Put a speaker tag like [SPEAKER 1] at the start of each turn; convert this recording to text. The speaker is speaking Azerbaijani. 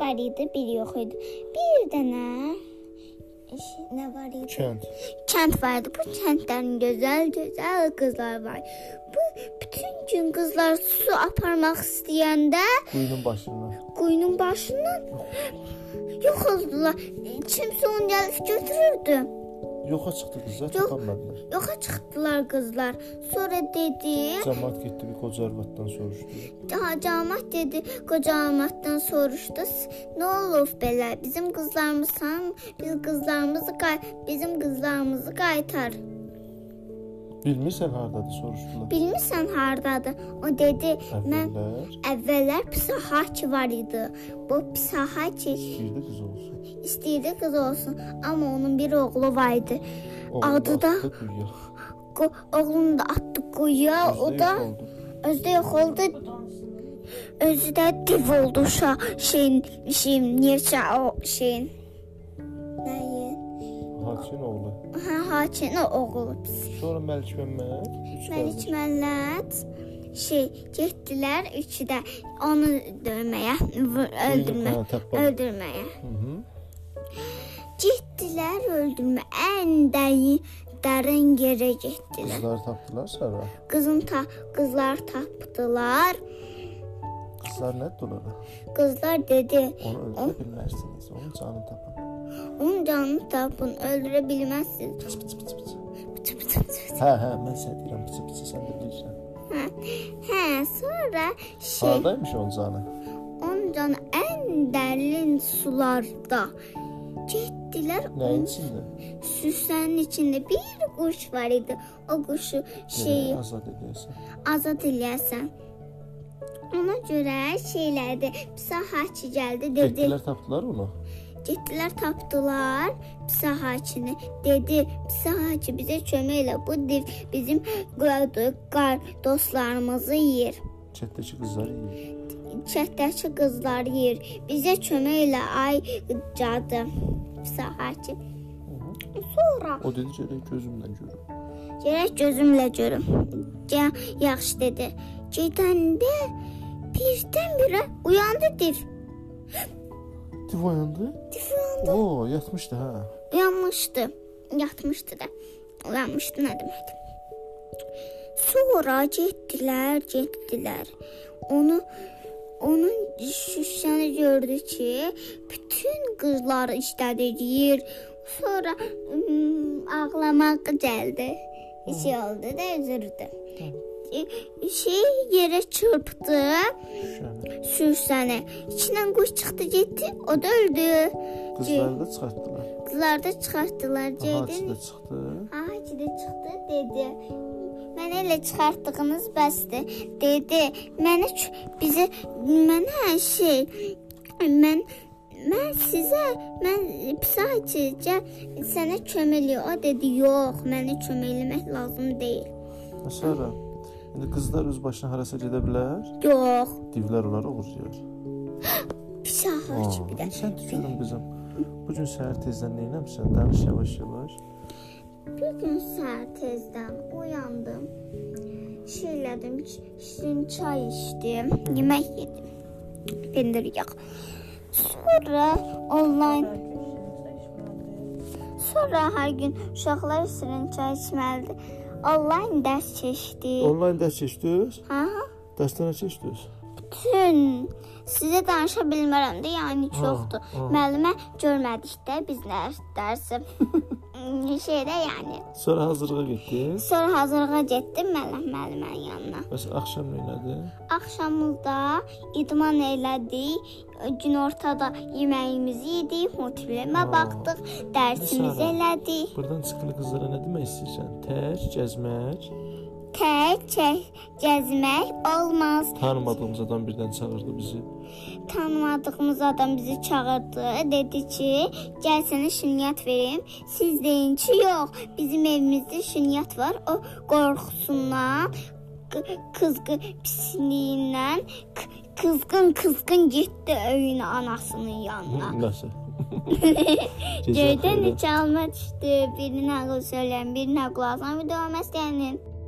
[SPEAKER 1] var idi, bir yox idi. Bir dənə iş- nə var idi?
[SPEAKER 2] Kənd.
[SPEAKER 1] Kənd var idi. Bu kəndlərin gözəl-gözəl qızları var. Bu bütün gün qızlar su aparmaq istəyəndə
[SPEAKER 2] Quyunun başından.
[SPEAKER 1] quyunun başından yox oldular. Kimsə onu gəlib götürürdü.
[SPEAKER 2] Yoxa çıxdı qızlar,
[SPEAKER 1] Yox.
[SPEAKER 2] çıxamadılar.
[SPEAKER 1] Yoxa çıxdılar qızlar. Sonra dedi,
[SPEAKER 2] Cəmaət getdi bir qoca arvaddan soruşdu.
[SPEAKER 1] Camat dedi, qoca amatdan soruşdu. "S- Nə olub belə? Bizim qızlarımız ham, biz qızlarımızı qay bizim qızlarımızı qaytar.
[SPEAKER 2] Bilmirsən hardadır soruşdular.
[SPEAKER 1] Bilmirsən hardadır? O dedi, mən
[SPEAKER 2] Əvvəllər
[SPEAKER 1] əvvəllər psixaç var idi. Bu psixaç
[SPEAKER 2] girdi qız olsun.
[SPEAKER 1] istəyirdi qız olsun, amma onun bir oğlu var idi.
[SPEAKER 2] Oğlunu
[SPEAKER 1] Adı da-
[SPEAKER 2] atdı quyuya.
[SPEAKER 1] Qo- Oğlunu da atdı quyuya,
[SPEAKER 2] Qız
[SPEAKER 1] o da
[SPEAKER 2] yox oldu.
[SPEAKER 1] özü də yox oldu. Özü də div oldu şa şeyin, şeyin, niyəsə o şeyin. Nəyin?
[SPEAKER 2] Haçin oğlu.
[SPEAKER 1] Hə, Haçin oğlu.
[SPEAKER 2] Sonra Məlik Məmməd. üç
[SPEAKER 1] Məlik
[SPEAKER 2] qardaş.
[SPEAKER 1] Məllət şey getdilər üçü də onu döyməyə, vur- öldürmə,
[SPEAKER 2] Hə, təppa.
[SPEAKER 1] öldürməyə.
[SPEAKER 2] Hı -hı.
[SPEAKER 1] Getdilər öldürmə ən dəyin dərin yerə getdilər.
[SPEAKER 2] Qızları tapdılar sonra.
[SPEAKER 1] Qızın ta qızlar tapdılar.
[SPEAKER 2] Qızlar nə dolara?
[SPEAKER 1] Qızlar dedi,
[SPEAKER 2] Onu öldürə bilmərsiniz. Onun canını tapın.
[SPEAKER 1] "Onun canını tapın, öldürə bilməzsiniz."
[SPEAKER 2] Pıç pıç pıç pıç.
[SPEAKER 1] Pıçı pıçı pıçı.
[SPEAKER 2] Hə, hə, mən sənə deyirəm pıç pıç sən də bilirsən.
[SPEAKER 1] Hə. Hə, sonra şey
[SPEAKER 2] Hardaymış onun canı?
[SPEAKER 1] Onun canı ən dərin sularda getdilər.
[SPEAKER 2] Nəyin içində?
[SPEAKER 1] Süsənin içində bir quş var idi. O quşu şey
[SPEAKER 2] Şeyi azad edirsən.
[SPEAKER 1] azad eləyəsən. Ona görə şeylərdi. Psixaçı gəldi, dedi,
[SPEAKER 2] Getdilər tapdılar onu.
[SPEAKER 1] getdilər tapdılar psixaçını. Dedi, psixaçı bizə kömək elə. Bu div bizim qoyduq qar dostlarımızı yeyir.
[SPEAKER 2] Çətdəki qızları yeyir.
[SPEAKER 1] Çətdəki qızlar yer. Bizə kömək elə ay cadı. Sahaçı. Sonra
[SPEAKER 2] O dedi görək gözümlə görüm.
[SPEAKER 1] gərək gözümlə görüm. Ya, yaxşı dedi. Gedəndə birdən-birə uyandı div.
[SPEAKER 2] Div oyandı.
[SPEAKER 1] Div uyandı.
[SPEAKER 2] O, yatmışdı hə.
[SPEAKER 1] uyanmışdı. Yatmışdı da. Uyanmışdı nə demək? Sonra getdilər, getdilər. Onu onun şüşəni gördü ki, bütün qızlar işlədir. Sonra hmm, ım, ağlamaq gəldi. Şey oldu da üzüldü. E, Şey yerə çırpdı
[SPEAKER 2] Şüşəni.
[SPEAKER 1] sürsəni. İçindən quş çıxdı, getdi, o da öldü.
[SPEAKER 2] Qızları da çıxartdılar.
[SPEAKER 1] Qızlar da çıxartdılar
[SPEAKER 2] Ağacı
[SPEAKER 1] Ceydin.
[SPEAKER 2] da çıxdı.
[SPEAKER 1] Ağacı da çıxdı dedi. Mənə elə çıxartdığınız bəsdir dedi. Mənə ç- bizi mənə şey mən mən sizə mən psixiatricə sənə kömək eləyir. O dedi, "Yox, mənə kömək eləmək lazım deyil."
[SPEAKER 2] Və Sonra Hə, indi qızlar öz başına harasa gedə bilər.
[SPEAKER 1] Yox,
[SPEAKER 2] Divlər onları oğurlayır.
[SPEAKER 1] psixiatricə bir də.
[SPEAKER 2] Sən düşünürəm qızım. Bu gün səhər tezdən nə etmisən? Danış yavaş-yavaş.
[SPEAKER 1] Bir gün səhər tezdən oyandım. Şey elədim, ş- şirin çay içdim, yemək yedim. Pendir yox. Sonra onlayn Sonra hər gün uşaqlar şirin çay içməlidir. Onlayn dərs keçdik.
[SPEAKER 2] Onlayn dərs keçdiniz?
[SPEAKER 1] Hə?
[SPEAKER 2] Dərsdən nə keçdiniz?
[SPEAKER 1] Bütün sizə danışa bilmərəm də, yəni
[SPEAKER 2] Ha,
[SPEAKER 1] çoxdur.
[SPEAKER 2] ha.
[SPEAKER 1] Müəllimə görmədik də biz dərs dərsi. Şeydə yəni.
[SPEAKER 2] Sonra hazırlığa getdiniz.
[SPEAKER 1] Sonra hazırlığa getdim Mələm müəllimənin yanına.
[SPEAKER 2] Bəs axşam nə edin?
[SPEAKER 1] Axşamımızda idman elədik. Gün ortada yeməyimizi yedik, motivləmə
[SPEAKER 2] Aa.
[SPEAKER 1] baxdıq, dərsimizi
[SPEAKER 2] Sonra?
[SPEAKER 1] elədik.
[SPEAKER 2] Burdan çıxan qızlara nə demək istəyirsən? Tək gəzmək,
[SPEAKER 1] Tək çək gəzmək olmaz.
[SPEAKER 2] tanımadığımız adam birdən çağırdı bizi.
[SPEAKER 1] Tanımadığımız adam bizi çağırdı. Dedi ki, gəl sənə şirniyyat verim. Siz deyin ki, yox, bizim evimizdə şirniyyat var. O qorxusundan, qı- qızğı pisliyindən qı- qızğın qızğın getdi öyün anasının yanına.
[SPEAKER 2] Nəsə.
[SPEAKER 1] Göydən neçə alma düşdü. Birinə ağıl söyləyən, birinə qulaq asan bir də o məstəyinin.